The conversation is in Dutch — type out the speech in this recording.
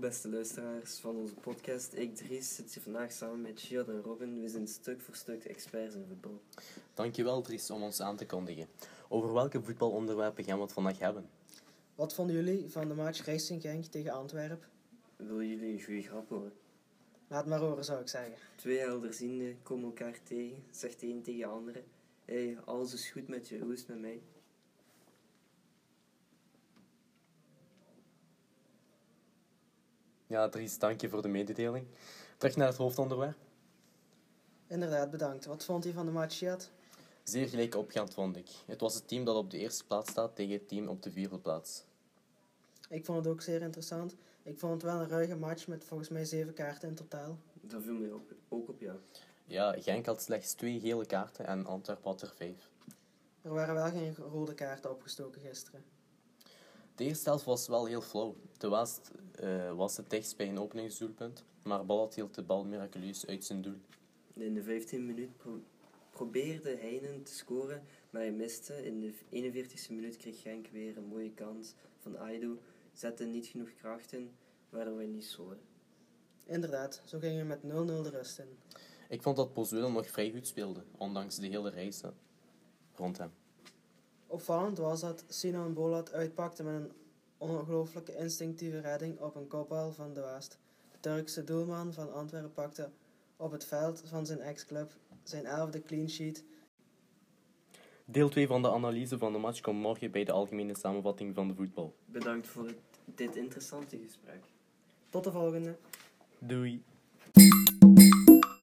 beste luisteraars van onze podcast. Ik, Dries, zit hier vandaag samen met Giad en Robin. We zijn stuk voor stuk de experts in voetbal. Dankjewel Dries om ons aan te kondigen. Over welke voetbalonderwerpen gaan we het vandaag hebben? Wat vonden jullie van de match Racing Genk tegen Antwerpen? Willen jullie een goede grap horen? Laat maar horen, zou ik zeggen. Twee helderzienden komen elkaar tegen, zegt de een tegen de andere. Hé, hey, alles is goed met je, hoe is het met mij? Ja Dries, dank je voor de mededeling. Terug naar het hoofdonderwerp. Inderdaad, bedankt. Wat vond je van de match, Jad? Zeer gelijk opgaand vond ik. Het was het team dat op de eerste plaats staat tegen het team op de vierde plaats. Ik vond het ook zeer interessant. Ik vond het wel een ruige match met volgens mij zeven kaarten in totaal. Dat viel mij op, ook op jou. Ja, Genk had slechts twee gele kaarten en Antwerpen had er vijf. Er waren wel geen rode kaarten opgestoken gisteren. De eerste helft was wel heel flauw. De Waas eh, was het dichtst bij een openingsdoelpunt, maar Ballat hield de bal miraculeus uit zijn doel. In de 15 minuut pro- probeerde Heinen te scoren, maar hij miste. In de 41 e minuut kreeg Genk weer een mooie kans van Aido. Zette niet genoeg kracht in, waardoor we niet scoorden. Inderdaad, zo gingen we met 0-0 de rust in. Ik vond dat Pozuelo nog vrij goed speelde, ondanks de hele reis eh, rond hem. Opvallend was dat Sinan Bolat uitpakte met een ongelooflijke instinctieve redding op een kopbal van de Waast. De Turkse doelman van Antwerpen pakte op het veld van zijn ex-club zijn elfde clean sheet Deel 2 van de analyse van de match komt morgen bij de algemene samenvatting van de voetbal. Bedankt voor het- dit interessante gesprek. Tot de volgende. Doei!